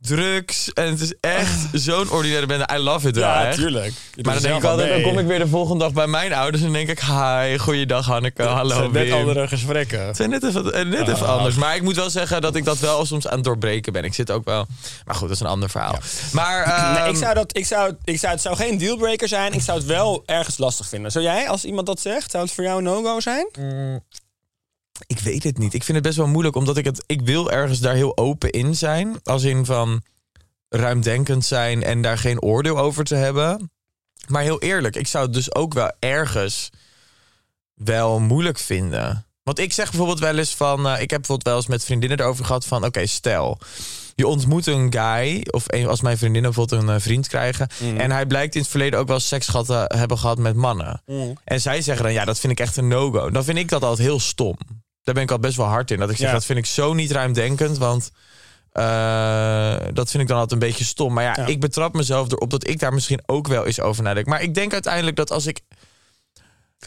drugs. En het is echt zo'n ordinaire bende. I love it wel,
Ja,
hè?
tuurlijk. Je
Maar
doet
dan
er
denk ik
zelf
altijd,
aan
dan
mee.
kom ik weer de volgende dag bij mijn ouders. En denk ik, hi, goeiedag Hanneke,
Het
hallo
zijn net
Wim.
andere gesprekken.
Het zijn net even, eh, net even
Ah.
anders. Maar ik moet wel zeggen dat ik dat wel soms aan het doorbreken ben. Ik zit ook wel... Maar goed, dat is een ander verhaal. Maar...
Nee,
ehm,
ik zou dat, ik zou, ik zou, het zou geen dealbreaker zijn. Ik zou het wel ergens lastig vinden. Zou jij, als iemand dat zegt, zou het voor jou een no-go zijn?
Ik weet het niet. Ik vind het best wel moeilijk, omdat ik het... Ik wil ergens daar heel open in zijn. Als in van ruimdenkend zijn en daar geen oordeel over te hebben. Maar heel eerlijk, ik zou het dus ook wel ergens wel moeilijk vinden. Want ik zeg bijvoorbeeld wel eens van... eh, ik heb bijvoorbeeld wel eens met vriendinnen erover gehad van... Oké, stel, je ontmoet een guy... Of een, als mijn vriendinnen bijvoorbeeld een eh, vriend krijgen... En hij blijkt in het verleden ook wel seks gehad te hebben gehad met mannen. En zij zeggen dan, ja, dat vind ik echt een no-go. Dan vind ik dat altijd heel stom. Daar ben ik al best wel hard in. Dat ik zeg,
Ja.
dat vind ik zo niet ruimdenkend, want... eh, dat vind ik dan altijd een beetje stom. Maar ja,
Ja.
ik betrap mezelf erop dat ik daar misschien ook wel eens over nadenk. Maar ik denk uiteindelijk dat als ik...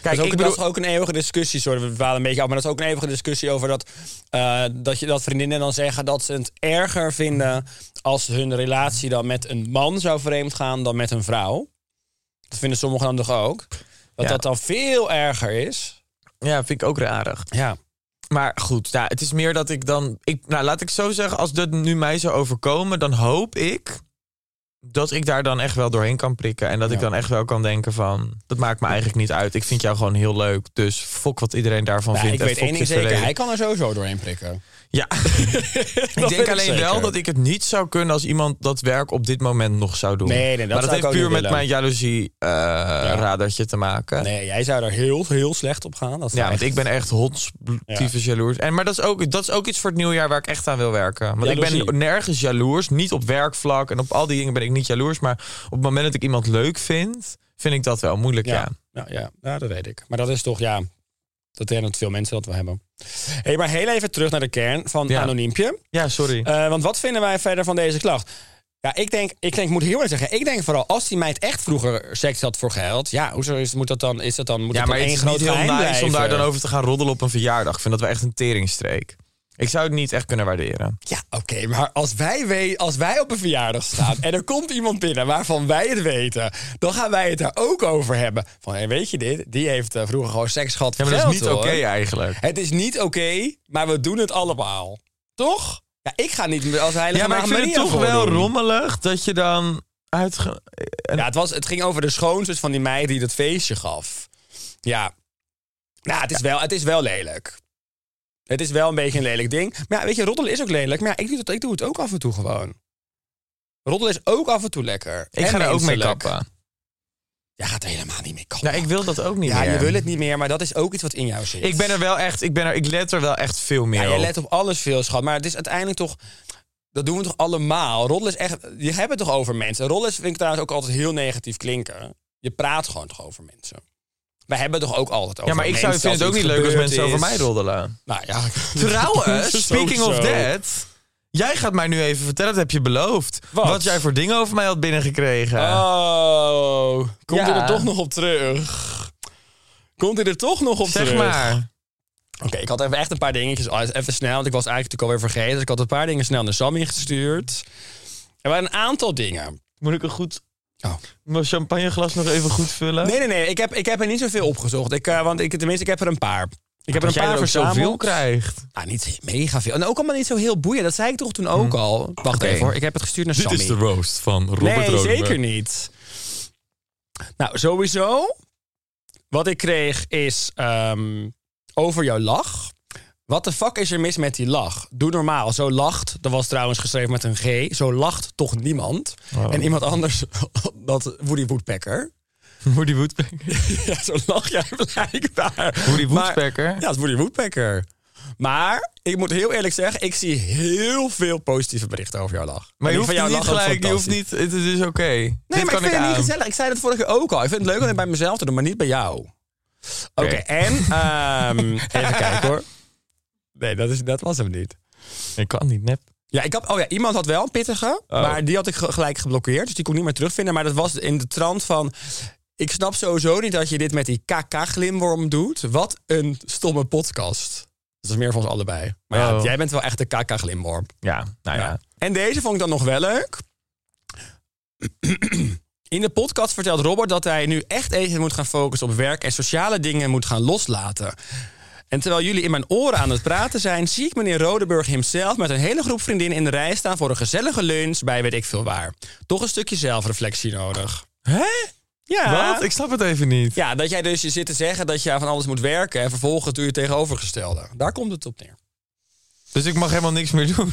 Kijk,
dat, is ook,
ik bedoel...
dat is ook een eeuwige discussie, sorry, we dwalen een beetje af. Maar dat is ook een eeuwige discussie over dat, eh, dat, je, dat vriendinnen dan zeggen dat ze het erger vinden als hun relatie dan met een man zou vreemd gaan dan met een vrouw. Dat vinden sommigen dan toch ook. Dat
Ja.
dat dan veel erger is.
Ja, vind ik ook rarig.
Ja.
Maar goed, nou, het is meer dat ik dan. Ik, nou, laat ik zo zeggen, als dit nu mij zou overkomen, dan hoop ik dat ik daar dan echt wel doorheen kan prikken. En dat ik dan echt wel kan denken van, dat maakt me eigenlijk niet uit. Ik vind jou gewoon heel leuk. Dus fok wat iedereen daarvan
Nou,
vindt.
ik
en
weet
fok
één ding
je verleden.
zeker, hij kan er sowieso doorheen prikken.
Ja, ik
weet ik
denk alleen wel
zeker.
dat ik het niet zou kunnen als iemand dat werk op dit moment nog zou doen.
Nee, nee, dat
maar dat
zou ik
heeft
ook
puur
niet
met
willen.
mijn jaloezie eh radertje te maken.
Nee, jij zou er heel, heel slecht op gaan. Dat zou
Ja, want
echt-
ik ben echt hot,
Ja.
tyfus jaloers. En, maar dat is, ook, dat is ook iets voor het nieuwjaar waar ik echt aan wil werken. Want ik
Jaloezie.
ben nergens jaloers. Niet op werkvlak en op al die dingen ben ik niet jaloers. Maar op het moment dat ik iemand leuk vind, vind ik dat wel moeilijk, ja.
Ja, ja, ja, ja, dat weet ik. Maar dat is toch, ja, dat denk dat veel mensen dat wel hebben. hey, maar heel even terug naar de kern van
Ja.
Anoniempje.
Ja, sorry.
Eh, want wat vinden wij verder van deze klacht? Ja, ik denk, ik denk, ik moet heel eerlijk zeggen, ik denk vooral als die meid echt vroeger seks had voor geld, ja, hoezo is, moet dat dan, is dat dan, moet
ja,
dat
maar
dan
het
één
is
groot
niet heel nice
geheim
om daar
blijven?
dan over te gaan roddelen op een verjaardag. Ik vind dat wel echt een teringstreek. Ik zou het niet echt kunnen waarderen.
Ja, oké, maar als wij, we- als wij op een verjaardag staan en er komt iemand binnen waarvan wij het weten, dan gaan wij het daar ook over hebben. Van, hé, weet je dit? Die heeft eh, vroeger gewoon seks gehad
Ja,
voor
maar dat is
geld,
niet oké
hoor.
eigenlijk.
Het is niet oké, maar we doen het allemaal. Toch? Ja, ik ga niet meer als heilige
Ja, maar ik vind het toch wel
rond.
rommelig dat je dan uitge... en-
Ja, het, was, het ging over de schoonzus van die meid die dat feestje gaf. Ja. Nou, het is, Wel, het is wel lelijk. Het is wel een beetje een lelijk ding. Maar ja, weet je, roddelen is ook lelijk. Maar ja, ik doe, het, ik doe het ook af en toe gewoon. Roddelen is ook af en toe lekker.
Ik
En
ga er ook mee
menselijk.
kappen.
Jij gaat er helemaal niet mee kappen.
Nou, ik wil dat ook niet
ja,
meer.
je wil het niet meer, maar dat is ook iets wat in jou zit.
Ik ben er wel echt, ik ben er, ik let er wel echt veel meer
Ja, jij
op.
let op alles veel, schat. Maar het is uiteindelijk toch... Dat doen we toch allemaal? Roddelen is echt... Je hebt het toch over mensen? Roddelen is- vind ik trouwens ook altijd heel negatief klinken. Je praat gewoon toch over mensen? Wij hebben het toch ook altijd over
ja, maar ik zou,
mensen,
vind het ook
iets
niet leuk als
gebeurd
mensen over
is.
mij roddelen.
Nou ja.
Trouwens, speaking of
Sowieso.
that. Jij gaat mij nu even vertellen, dat heb je beloofd.
Wat?
Wat, jij voor dingen over mij had binnengekregen.
Oh, komt hij
Ja.
er toch nog op terug? Komt hij er toch nog op
zeg
terug?
maar.
Oké, ik had even echt een paar dingetjes. oh, Even snel, want ik was eigenlijk natuurlijk alweer vergeten. Dus ik had een paar dingen snel naar Sammy gestuurd. Er waren een aantal dingen.
Moet ik een goed,
Oh.
mijn champagneglas nog even goed vullen?
Nee, nee, nee. Ik heb, ik heb er niet zoveel opgezocht. Ik, eh, want ik, tenminste, ik heb er een paar. Ik heb er
Dat
een
jij
paar
er ook
verzameld.
zoveel krijgt.
Ah, niet mega veel. En ook allemaal niet zo heel boeiend. Dat zei ik toch toen ook al. Wacht
Hm. Oké.
even hoor. Ik heb het gestuurd naar Sammy.
roast van Robert
nee, zeker niet. Nou, sowieso. Wat ik kreeg is ehm, over jouw lach. Wat de fuck is er mis met die lach? Doe normaal. Zo lacht, dat was trouwens geschreven met een G. Zo lacht toch niemand. En iemand anders, dat Woody Woodpecker.
Woody Woodpecker.
Ja, zo lach jij blijkbaar.
Woody
Maar-
Woodpecker?
ja, het is Woody Woodpecker. Maar ik moet heel eerlijk zeggen, ik zie heel veel positieve berichten over jouw lach.
Maar je
En die
hoeft niet
ook
gelijk, je hoeft
fantastisch.
niet, het is dus oké.
Nee,
Dit
maar
kan
ik vind het niet
aan.
gezellig. Ik zei dat vorige keer ook al. Ik vind het leuk om het bij mezelf te doen, maar niet bij jou. Oké, en... ehm, even kijken hoor. Nee, dat, is, dat was hem niet.
Ik kan niet nep.
Ja, ik had, oh ja, iemand had wel een pittige, maar die had ik ge- gelijk geblokkeerd. Dus die kon ik niet meer terugvinden. Maar dat was in de trant van... Ik snap sowieso niet dat je dit met die KK-glimworm doet. Wat een stomme podcast. Dat is meer voor ons allebei. Maar ja,
Oh.
jij bent wel echt de KK-glimworm.
Ja, nou ja.
En deze vond ik dan nog wel leuk. In de podcast vertelt Robert dat hij nu echt even moet gaan focussen op werk en sociale dingen moet gaan loslaten. En terwijl jullie in mijn oren aan het praten zijn, zie ik meneer Rodeburg hemzelf met een hele groep vriendinnen in de rij staan voor een gezellige lunch bij weet ik veel waar. Toch een stukje zelfreflectie nodig.
Hè?
Ja.
Wat? Ik snap het even niet.
Ja, dat jij dus je zit te zeggen dat je aan van alles moet werken en vervolgens doe je het tegenovergestelde. Daar komt het op neer.
Dus ik mag helemaal niks meer doen.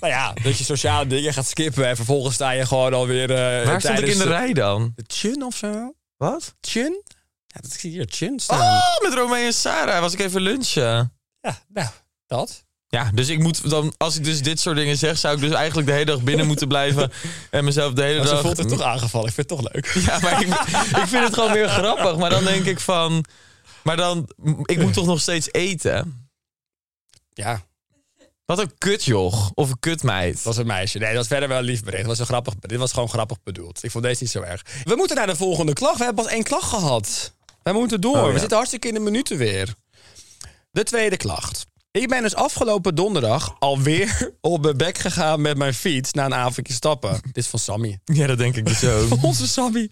Nou ja, dat je sociale dingen gaat skippen en vervolgens sta je gewoon alweer. eh
Waar stond ik
tijdens
in de rij dan?
Chun of zo?
Wat?
Chun? Ja, dat zie je hier Chun staan.
Oh, met Romeo en Sarah was ik even lunchen.
Ja, nou, dat.
Ja, dus ik moet dan, als ik dus dit soort dingen zeg, zou ik dus eigenlijk de hele dag binnen moeten blijven. En mezelf de hele
Maar
dag.
ze voelt het toch aangevallen. Ik vind het toch leuk.
Ja, maar ik, ik vind het gewoon weer grappig. Maar dan denk ik van. Maar dan, ik moet toch nog steeds eten?
Ja,
Wat een kutjoch. Of een kutmeid.
dat was een meisje. Nee, dat was verder wel een lief bericht. Dat was een grappig, dit was gewoon grappig bedoeld. Ik vond deze niet zo erg. We moeten naar de volgende klacht. We hebben pas één klacht gehad. Wij moeten door.
Oh, ja.
We zitten hartstikke in de minuten weer. De tweede klacht. Ik ben dus afgelopen donderdag alweer op mijn bek gegaan met mijn fiets na een avondje stappen. Dit is van Sammy.
Ja, dat denk ik dus ook.
Onze Sammy.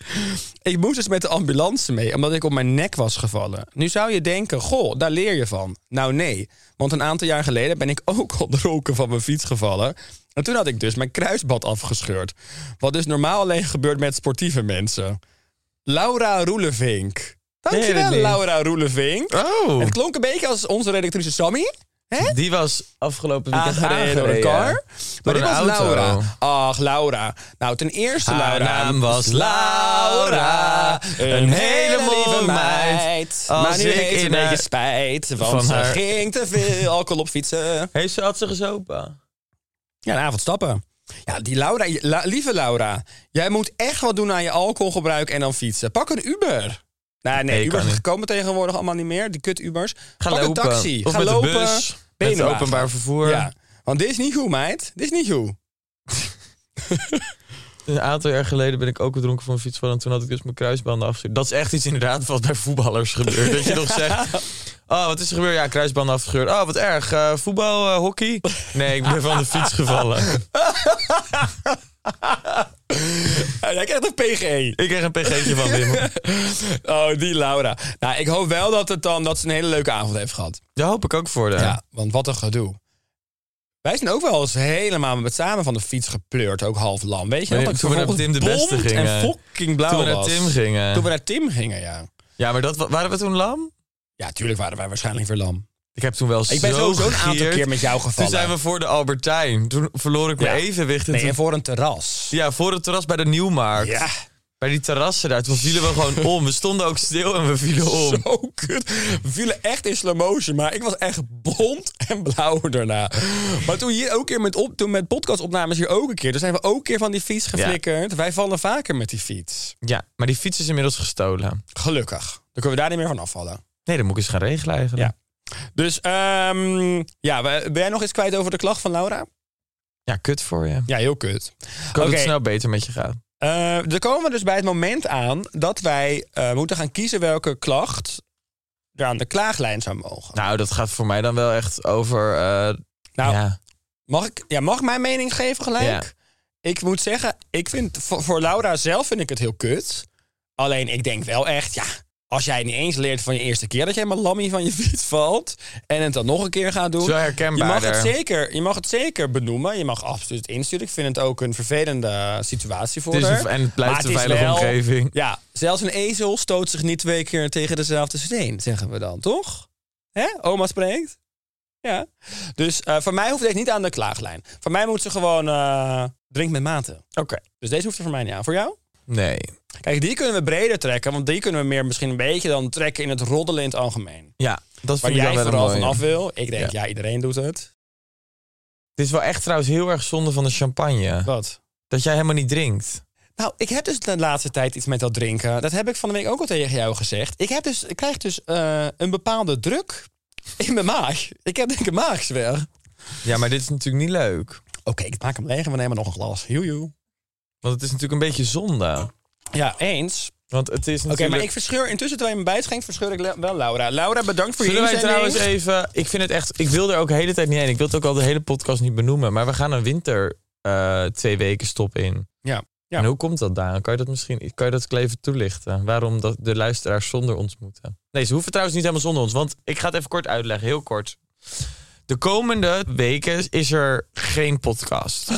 Ik moest dus met de ambulance mee, omdat ik op mijn nek was gevallen. Nu zou je denken, goh, daar leer je van. Nou nee, want een aantal jaar geleden ben ik ook op de roken van mijn fiets gevallen. En toen had ik dus mijn kruisbad afgescheurd. Wat dus normaal alleen gebeurt met sportieve mensen. Laura Roelevink.
Nee,
Dankjewel,
dat niet.
Laura Roelevink.
Oh.
Het klonk een beetje als onze redactrice Sammy.
Die was afgelopen weekend
Aangereden, door een
aangereden.
car. Maar dit
een
was
auto.
Laura. Ach, Laura. Nou, ten eerste,
Haar
Laura.
naam was Laura, een hele mooie meid.
maar
Als
nu
ik
heeft ze
in
een beetje
haar-
spijt, want
van
ze
haar-
ging te veel alcohol op fietsen.
Heeft ze, had ze gezopen?
Ja, een avond stappen. Ja, die Laura, je- La- lieve Laura, jij moet echt wat doen aan je alcoholgebruik en dan fietsen. Pak een Uber. Nou, nee,
Nee, kan
Ubers
niet.
komen tegenwoordig allemaal niet meer, die kut Ubers.
Ga
Pak een
lopen.
taxi,
Of
ga
met de
lopen. nou
bus, met het
benenwagen.
openbaar vervoer.
Ja, want dit is niet goed, meid. Dit is niet goed.
Een aantal jaar geleden ben ik ook gedronken van een fietsval en toen had ik dus mijn kruisbanden afgescheurd. Dat is echt iets inderdaad wat bij voetballers gebeurt. Dat je nog zegt, oh wat is er gebeurd? Ja, kruisbanden afgescheurd. Oh wat erg, Eh, voetbal, eh, hockey? Nee, ik ben van de fiets gevallen.
Ja, jij krijgt een PGE.
Ik kreeg een pg'tje van Wim.
Oh, die Laura. Nou, ik hoop wel dat, het dan, dat ze een hele leuke avond heeft gehad.
Daar hoop ik ook voor.
Ja.
haar.
want wat een gedoe. Wij zijn ook wel eens helemaal met samen van de fiets gepleurd. Ook half lam. Weet je nog?
Wanneer-
Dat ik
toen we naar
vervolgens
Tim de Beste
blond
gingen.
En fucking blauw
Toen we naar
was.
Tim gingen.
Toen we naar Tim gingen, ja.
Ja, maar dat, wa- waren we toen lam?
Ja, tuurlijk waren wij waarschijnlijk weer lam.
Ik heb toen wel
Ik ben sowieso een aantal
gegierd.
keer met jou
Toen
gevallen.
zijn we voor de Albertijn. Toen verloor ik mijn
Ja.
evenwicht. En
Nee,
toen-
en voor een terras.
Ja, voor het terras bij de Nieuwmarkt.
Ja,
Bij die terrassen daar. Toen vielen we gewoon om. We stonden ook stil en we vielen om.
zo kut. We vielen echt in slow motion, maar ik was echt blond en blauw daarna. Maar toen hier ook keer met, op, toen met podcastopnames hier ook een keer. Toen zijn we ook een keer van die fiets geflikkerd. Wij vallen vaker met die fiets.
Ja, maar die fiets is inmiddels gestolen.
Gelukkig. Dan kunnen we daar niet meer van afvallen.
Nee, dat moet ik eens gaan regelen eigenlijk.
Dus ehm, ja, we- ben jij nog iets kwijt over de klacht van Laura?
Ja, kut voor je. Ik
Ja, heel kut.
hoop
Oké.
dat het snel beter met je gaat.
Eh, dan komen we dus bij het moment aan dat wij eh, moeten gaan kiezen welke klacht er aan de klaaglijn zou mogen.
Nou, dat gaat voor mij dan wel echt over... eh,
Nou,
ja.
Mag ik, ja, mag ik mijn mening geven gelijk?
Ja.
Ik moet zeggen, ik vind, voor, voor Laura zelf vind ik het heel kut. Alleen ik denk wel echt, ja, als jij niet eens leert van je eerste keer dat je helemaal lammy van je fiets valt en het dan nog een keer gaat doen.
Het is wel
je mag,
herkenbaarder.
het zeker, je mag het zeker benoemen. Je mag absoluut insturen. Ik vind het ook een vervelende situatie voor
Het is een-
haar.
en het blijft
Maar
een
is
veilige
wel-
omgeving.
Ja, zelfs een ezel stoot zich niet twee keer tegen dezelfde steen, zeggen we dan, toch? Hè? Oma spreekt. Ja. Dus eh, voor mij hoeft deze niet aan de klaaglijn. Voor mij moet ze gewoon eh drink met mate.
Oké.
Dus deze hoeft er voor mij niet aan. Voor jou?
Nee.
Kijk, die kunnen we breder trekken. Want die kunnen we meer misschien een beetje dan trekken in het roddelen in het algemeen.
Ja, dat
Waar
vind ik
jij
dan wel een
vooral
mooie.
vanaf wil. Ik denk,
Ja.
ja, iedereen doet het.
Dit is wel echt trouwens heel erg zonde van de champagne.
Wat?
Dat jij helemaal niet drinkt.
Nou, ik heb dus de laatste tijd iets met dat drinken. Dat heb ik van de week ook al tegen jou gezegd. Ik, heb dus, ik krijg dus eh, een bepaalde druk in mijn maag. Ik heb denk ik een maagzwer. Oké,
Ja, maar dit is natuurlijk niet leuk.
ik maak hem leeg en we nemen nog een glas. Joejoe.
Want het is natuurlijk een beetje zonde.
Ja, eens.
Want het is natuurlijk...
Oké, maar ik verscheur intussen terwijl je me bijschenkt, verscheur ik le- wel Laura. Laura, bedankt voor
Zullen
je
wij trouwens
inzending.
even... Ik vind het echt... Ik wil er ook de hele tijd niet heen. Ik wil het ook al de hele podcast niet benoemen. Maar we gaan een winter eh, twee weken stop in.
Ja, ja.
En hoe komt dat daar? Kan je dat misschien... Kan je dat even toelichten? Waarom dat de luisteraars zonder ons moeten? Nee, ze hoeven trouwens niet helemaal zonder ons. Want ik ga het even kort uitleggen. Heel kort. De komende weken is er geen podcast.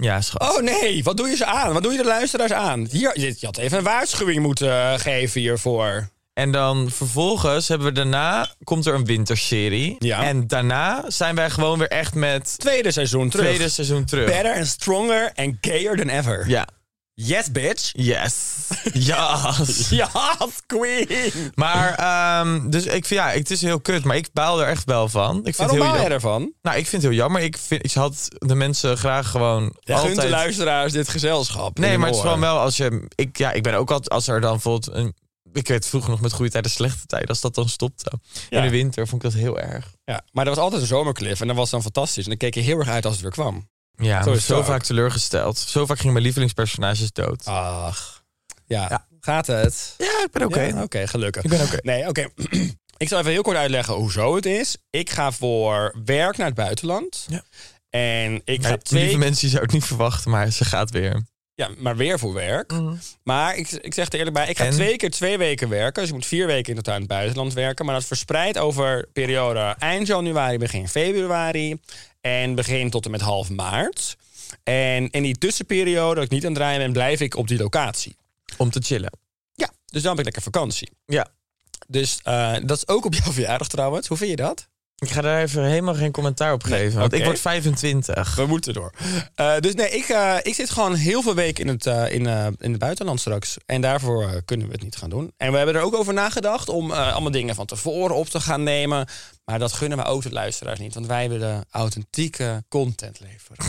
Ja, schat.
Oh nee, wat doe je ze aan? Wat doe je de luisteraars aan? Hier, je je had even een waarschuwing moeten eh, geven hiervoor.
En dan vervolgens hebben we daarna... Komt er een winterserie.
Ja.
En daarna zijn wij gewoon weer echt met...
Tweede seizoen terug.
Tweede seizoen terug.
Better and stronger and gayer than ever.
Ja.
Yes, bitch.
Yes. Yes.
Yes, queen.
Maar, ehm, dus ik vind, ja, het is heel kut, maar ik baal er echt wel van. Ik vind
Waarom
het heel
baal jij
jammer.
ervan?
Nou, ik vind het heel jammer. Ik, vind, ik had de mensen graag gewoon
Ja, gunt de
altijd...
luisteraars dit gezelschap.
Nee,
in
maar het is
oor.
gewoon wel als je... Ik, ja, ik ben ook altijd, als er dan bijvoorbeeld... Een, ik weet vroeger nog met goede tijden, slechte tijden. Als dat dan stopte
Ja.
in de winter, vond ik dat heel erg.
Ja, maar er was altijd een zomercliff en dat was dan fantastisch. En dan keek je heel erg uit als het weer kwam.
Ja,
Zo
zo,
is het
zo
ook.
vaak teleurgesteld. Zo vaak gingen mijn lievelingspersonages dood.
Ach. Ja,
Ja.
gaat het?
Ja, ik ben oké.
Ja, Oké, gelukkig.
Ik ben oké.
Nee, oké. ik zal even heel kort uitleggen hoezo het is. Ik ga voor werk naar het buitenland.
Ja.
En ik ga
Ja,
twee...
Lieve mensen, je zou het niet verwachten, maar ze gaat weer.
Ja, maar weer voor werk. Maar ik, ik zeg er eerlijk bij, ik ga
En?
twee keer twee weken werken. Dus ik moet vier weken in totaal in het buitenland werken. Maar dat verspreidt over periode eind januari, begin februari. En begin tot en met half maart. En in die tussenperiode, dat ik niet aan het draaien ben, blijf ik op die locatie.
Om te chillen.
Ja, dus dan heb ik lekker vakantie.
Ja,
Dus eh, dat is ook op jouw verjaardag trouwens. Hoe vind je dat?
Ik ga daar even helemaal geen commentaar op geven. Want
oké.
ik word 25.
We moeten door. Eh, dus nee, ik, eh, ik zit gewoon heel veel weken in het, eh, in, eh, in het buitenland straks. En daarvoor eh, kunnen we het niet gaan doen. En we hebben er ook over nagedacht om eh, allemaal dingen van tevoren op te gaan nemen. Maar dat gunnen we ook de luisteraars niet. Want wij willen authentieke content leveren.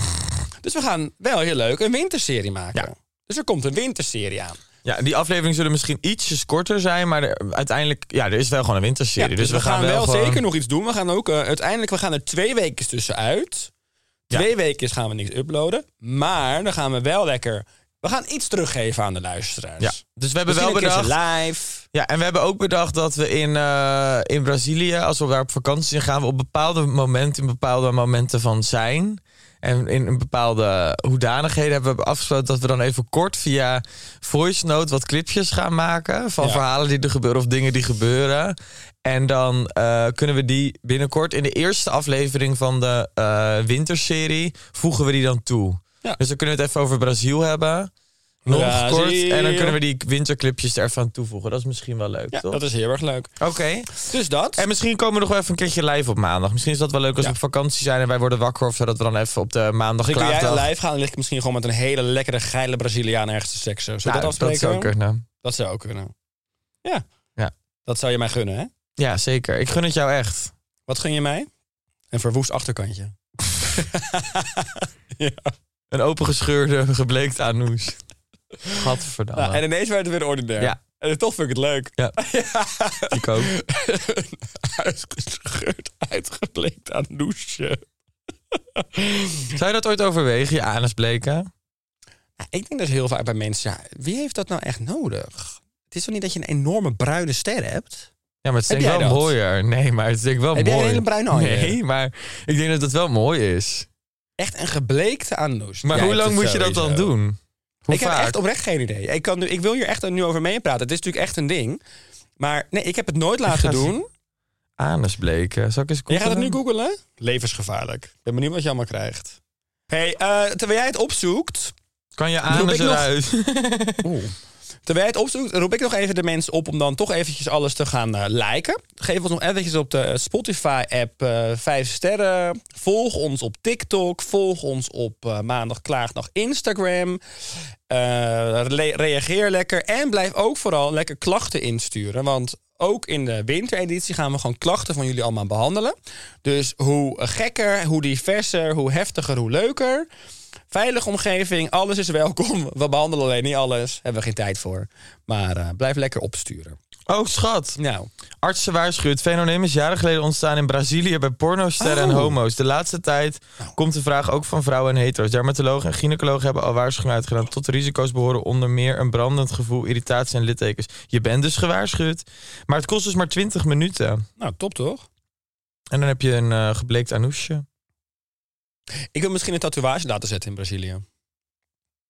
Dus we gaan wel heel leuk een winterserie maken.
Ja.
Dus er komt een winterserie aan.
Ja, die afleveringen zullen misschien ietsjes korter zijn. Maar er- uiteindelijk, ja, er is wel gewoon een winterserie.
Ja,
dus, we, gaan, wel gewoon-
zeker nog iets doen. We gaan ook eh, uiteindelijk, we gaan er twee weken tussenuit.
Ja.
Twee weken gaan we niks uploaden. Maar dan gaan we wel lekker. We gaan iets teruggeven aan de luisteraars.
Ja, dus we hebben
Misschien
wel
een keertje
bedacht.
live.
Ja, en we hebben ook bedacht dat we in, eh, in Brazilië, als we daar op vakantie zijn, gaan we op bepaalde momenten, in bepaalde momenten van zijn. En in een bepaalde hoedanigheden hebben we afgesloten dat we dan even kort via voice note wat clipjes gaan maken. Van
Ja.
verhalen die er gebeuren of dingen die gebeuren. En dan eh, kunnen we die binnenkort in de eerste aflevering van de eh, winterserie voegen we die dan toe.
Ja.
Dus dan kunnen we het even over Brazil hebben. Nog
Brazil.
kort. En dan kunnen we die winterclipjes er even aan toevoegen. Dat is misschien wel leuk,
Ja,
toch?
dat is heel erg leuk.
Oké.
Dus dat.
En misschien komen we nog wel even een keertje live op maandag. Misschien is dat wel leuk als
Ja.
we op vakantie zijn en wij worden wakker of zo. Dat we dan even op de maandag
Misschien kun
klaar
jij live gaan en lig ik misschien gewoon met een hele lekkere geile Braziliaan ergens te seksen. Zullen we dat
Nou, dat
afspreken?
zou kunnen.
Dat zou ook kunnen. Ja.
Ja.
Dat zou je mij gunnen, hè?
Ja, zeker. Ik gun het jou echt.
Wat gun je mij? Een verwoest achterkantje. ja.
Een opengescheurde, gebleekt anus. Gadverdamme.
Nou, en ineens werd het weer ordinair.
Ja.
En toch vind ik het leuk.
Ja. Ik ook.
Uitgescheurd, uitgebleekt aan douche.
Zou je dat ooit overwegen, je anus bleken?
Ik denk dat heel vaak bij mensen, ja, wie heeft dat nou echt nodig? Het is toch niet dat je een enorme bruine ster hebt?
Ja, maar het
Heb
is denk ik
jij
wel
dat?
mooier. Nee, maar het is denk ik wel
Heb jij
mooi.
een hele bruine haaien?
Nee, maar ik denk dat het wel mooi is.
Echt een gebleekte aan douche.
Maar
Jij
hoe
hebt
lang
het
moet je dat dan
sowieso.
doen? Hoe
ik
vaak?
heb echt oprecht geen idee. Ik, kan nu, ik wil hier echt nu over meepraten. Het is natuurlijk echt een ding. Maar nee, ik heb het nooit laten
ga het
doen.
Anus bleken. Zal ik eens
Jij gaat het nu
googlen?
googelen? Levensgevaarlijk. Ik ben benieuwd wat je allemaal krijgt. hey, eh, terwijl jij het opzoekt...
Kan je
Roep
anus
ik nog?
eruit?
Oeh. Terwijl je het opzoekt, roep ik nog even de mensen op om dan toch eventjes alles te gaan eh, liken. Geef ons nog eventjes op de Spotify-app eh 5 sterren. Volg ons op TikTok. Volg ons op eh, maandag klaagdag Instagram. Eh, le- reageer lekker. En blijf ook vooral lekker klachten insturen. Want ook in de wintereditie gaan we gewoon klachten van jullie allemaal behandelen. Dus hoe gekker, hoe diverser, hoe heftiger, hoe leuker. Veilige omgeving, alles is welkom. We behandelen alleen niet alles, hebben we geen tijd voor. Maar eh, blijf lekker opsturen.
Oh, schat.
Nou,
Artsen waarschuwen. Het fenomeen is jaren geleden ontstaan in Brazilië bij pornosterren en
Oh. Nou.
homo's. De laatste tijd komt de vraag ook van vrouwen en hetero's. Dermatologen en gynaecologen hebben al waarschuwingen uitgedaan. Tot de risico's behoren onder meer een brandend gevoel, irritatie en littekens. Je bent dus gewaarschuwd. Maar het kost dus maar 20 minuten.
nou top toch?
En dan heb je een eh, gebleekt anousje.
Ik wil misschien een tatoeage laten zetten in Brazilië.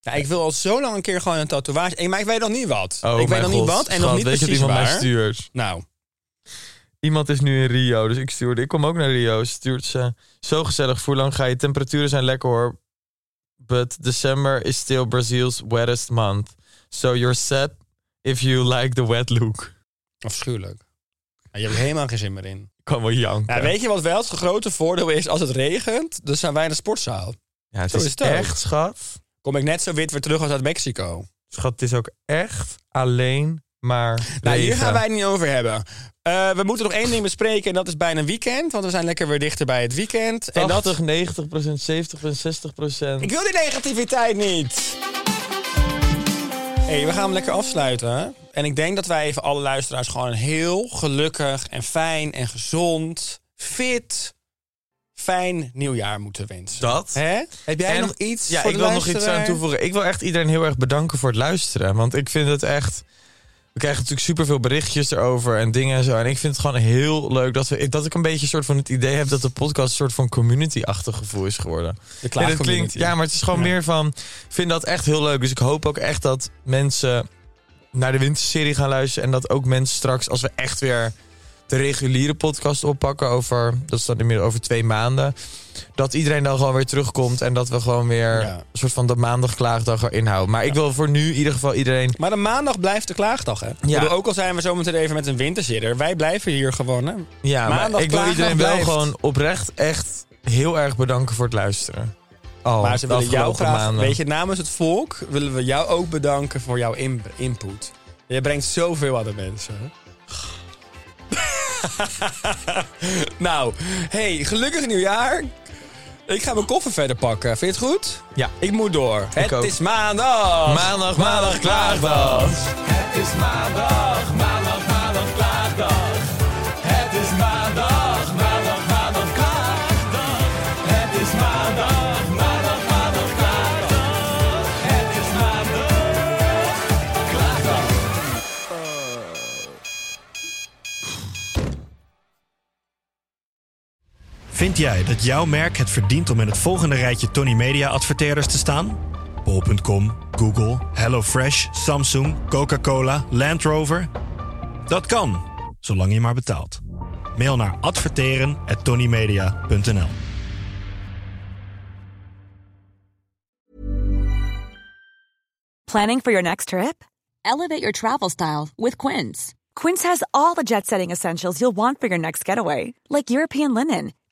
Ja, ik wil al zo lang een keer gewoon een tatoeage. Ik- Maar ik weet nog niet wat.
Oh,
ik weet
mijn
nog
god.
niet wat en nog
Schat,
niet
weet je
precies
wat iemand
waar.
mij stuurt.
Nou,
Iemand is nu in Rio, dus ik stuurde. Ik kom ook naar Rio, stuurt ze. Zo gezellig, Voerlang ga je. Temperaturen zijn lekker hoor. But December is still Brazil's wettest month. So you're set if you like the wet look.
afschuwelijk. Ja, je hebt er helemaal geen zin meer in.
Ik kan wel janken.
Ja, Weet je wat wel het grote voordeel is als het regent? Dan zijn wij in de sportzaal.
Ja, het
Zo
is,
is het ook.
echt, schat.
Kom ik net zo wit weer terug als uit Mexico.
Schat, het is ook echt alleen maar
Nou, hier
regen.
gaan wij het niet over hebben. Eh, we moeten nog één ding bespreken en dat is bijna een weekend. Want we zijn lekker weer dichter bij het weekend. En dat,
80, 90 procent, 70 60 procent.
ik wil die negativiteit niet. hey, we gaan hem lekker afsluiten. En ik denk dat wij even alle luisteraars gewoon een heel gelukkig en fijn en gezond, fit, fijn nieuwjaar moeten wensen.
Dat.
Hè? Heb jij
En-
nog iets
Ja,
voor
ik
de
wil nog iets
luisteraar?
aan toevoegen. Ik wil echt iedereen heel erg bedanken voor het luisteren. Want ik vind het echt. We krijgen natuurlijk superveel berichtjes erover en dingen en zo. En ik vind het gewoon heel leuk dat, we, dat ik een beetje soort van het idee heb dat de podcast een soort van community-achtig gevoel is geworden.
De
Ja, dat
klaagcommunity.
klinkt, ja, maar het is gewoon meer van. Ik vind dat echt heel leuk. Dus ik hoop ook echt dat mensen naar de winterserie gaan luisteren. En dat ook mensen straks, als we echt weer de reguliere podcast oppakken, over, dat is dan inmiddels over twee maanden. Dat iedereen dan gewoon weer terugkomt. En dat we gewoon weer
Ja.
een soort van de maandag klaagdag erin houden. Maar ik wil voor nu in ieder geval iedereen.
Maar de maandag blijft de klaagdag, hè? Ik bedoel, ook al zijn we zometeen even met een winterzitter, wij blijven hier gewoon, hè?
Ja, maar
Maandag
ik wil
klaagdag
iedereen wel
blijft.
gewoon oprecht echt heel erg bedanken voor het luisteren. Al
maar ze
de
willen jou
afgelopen
graag,
maanden.
weet je, namens het volk willen we jou ook bedanken voor jouw in- input. Je brengt zoveel aan de mensen. nou, hey, gelukkig nieuwjaar. Ik ga mijn koffer verder pakken. Vind je het goed?
Ja.
Ik moet door. het
ook.
is maandag.
Maandag, maandag, klaagdag.
Het is maandag, maandag, maandag, klaagdag. Het is maandag, maandag, maandag, klaagdag. Het is maandag, maandag, maandag, klaagdag. Het is maandag, klaagdag.
Vind jij dat jouw merk het verdient om in het volgende rijtje Tony Media adverteerders te staan? Bol.com, Google, HelloFresh, Samsung, Coca-Cola, Land Rover? Dat kan, zolang je maar betaalt. Mail naar adverteren@tonymedia.nl.
Planning for your next trip?
Elevate your travel style with Quince.
Quince has all the jet setting essentials you'll want for your next getaway, like European linen,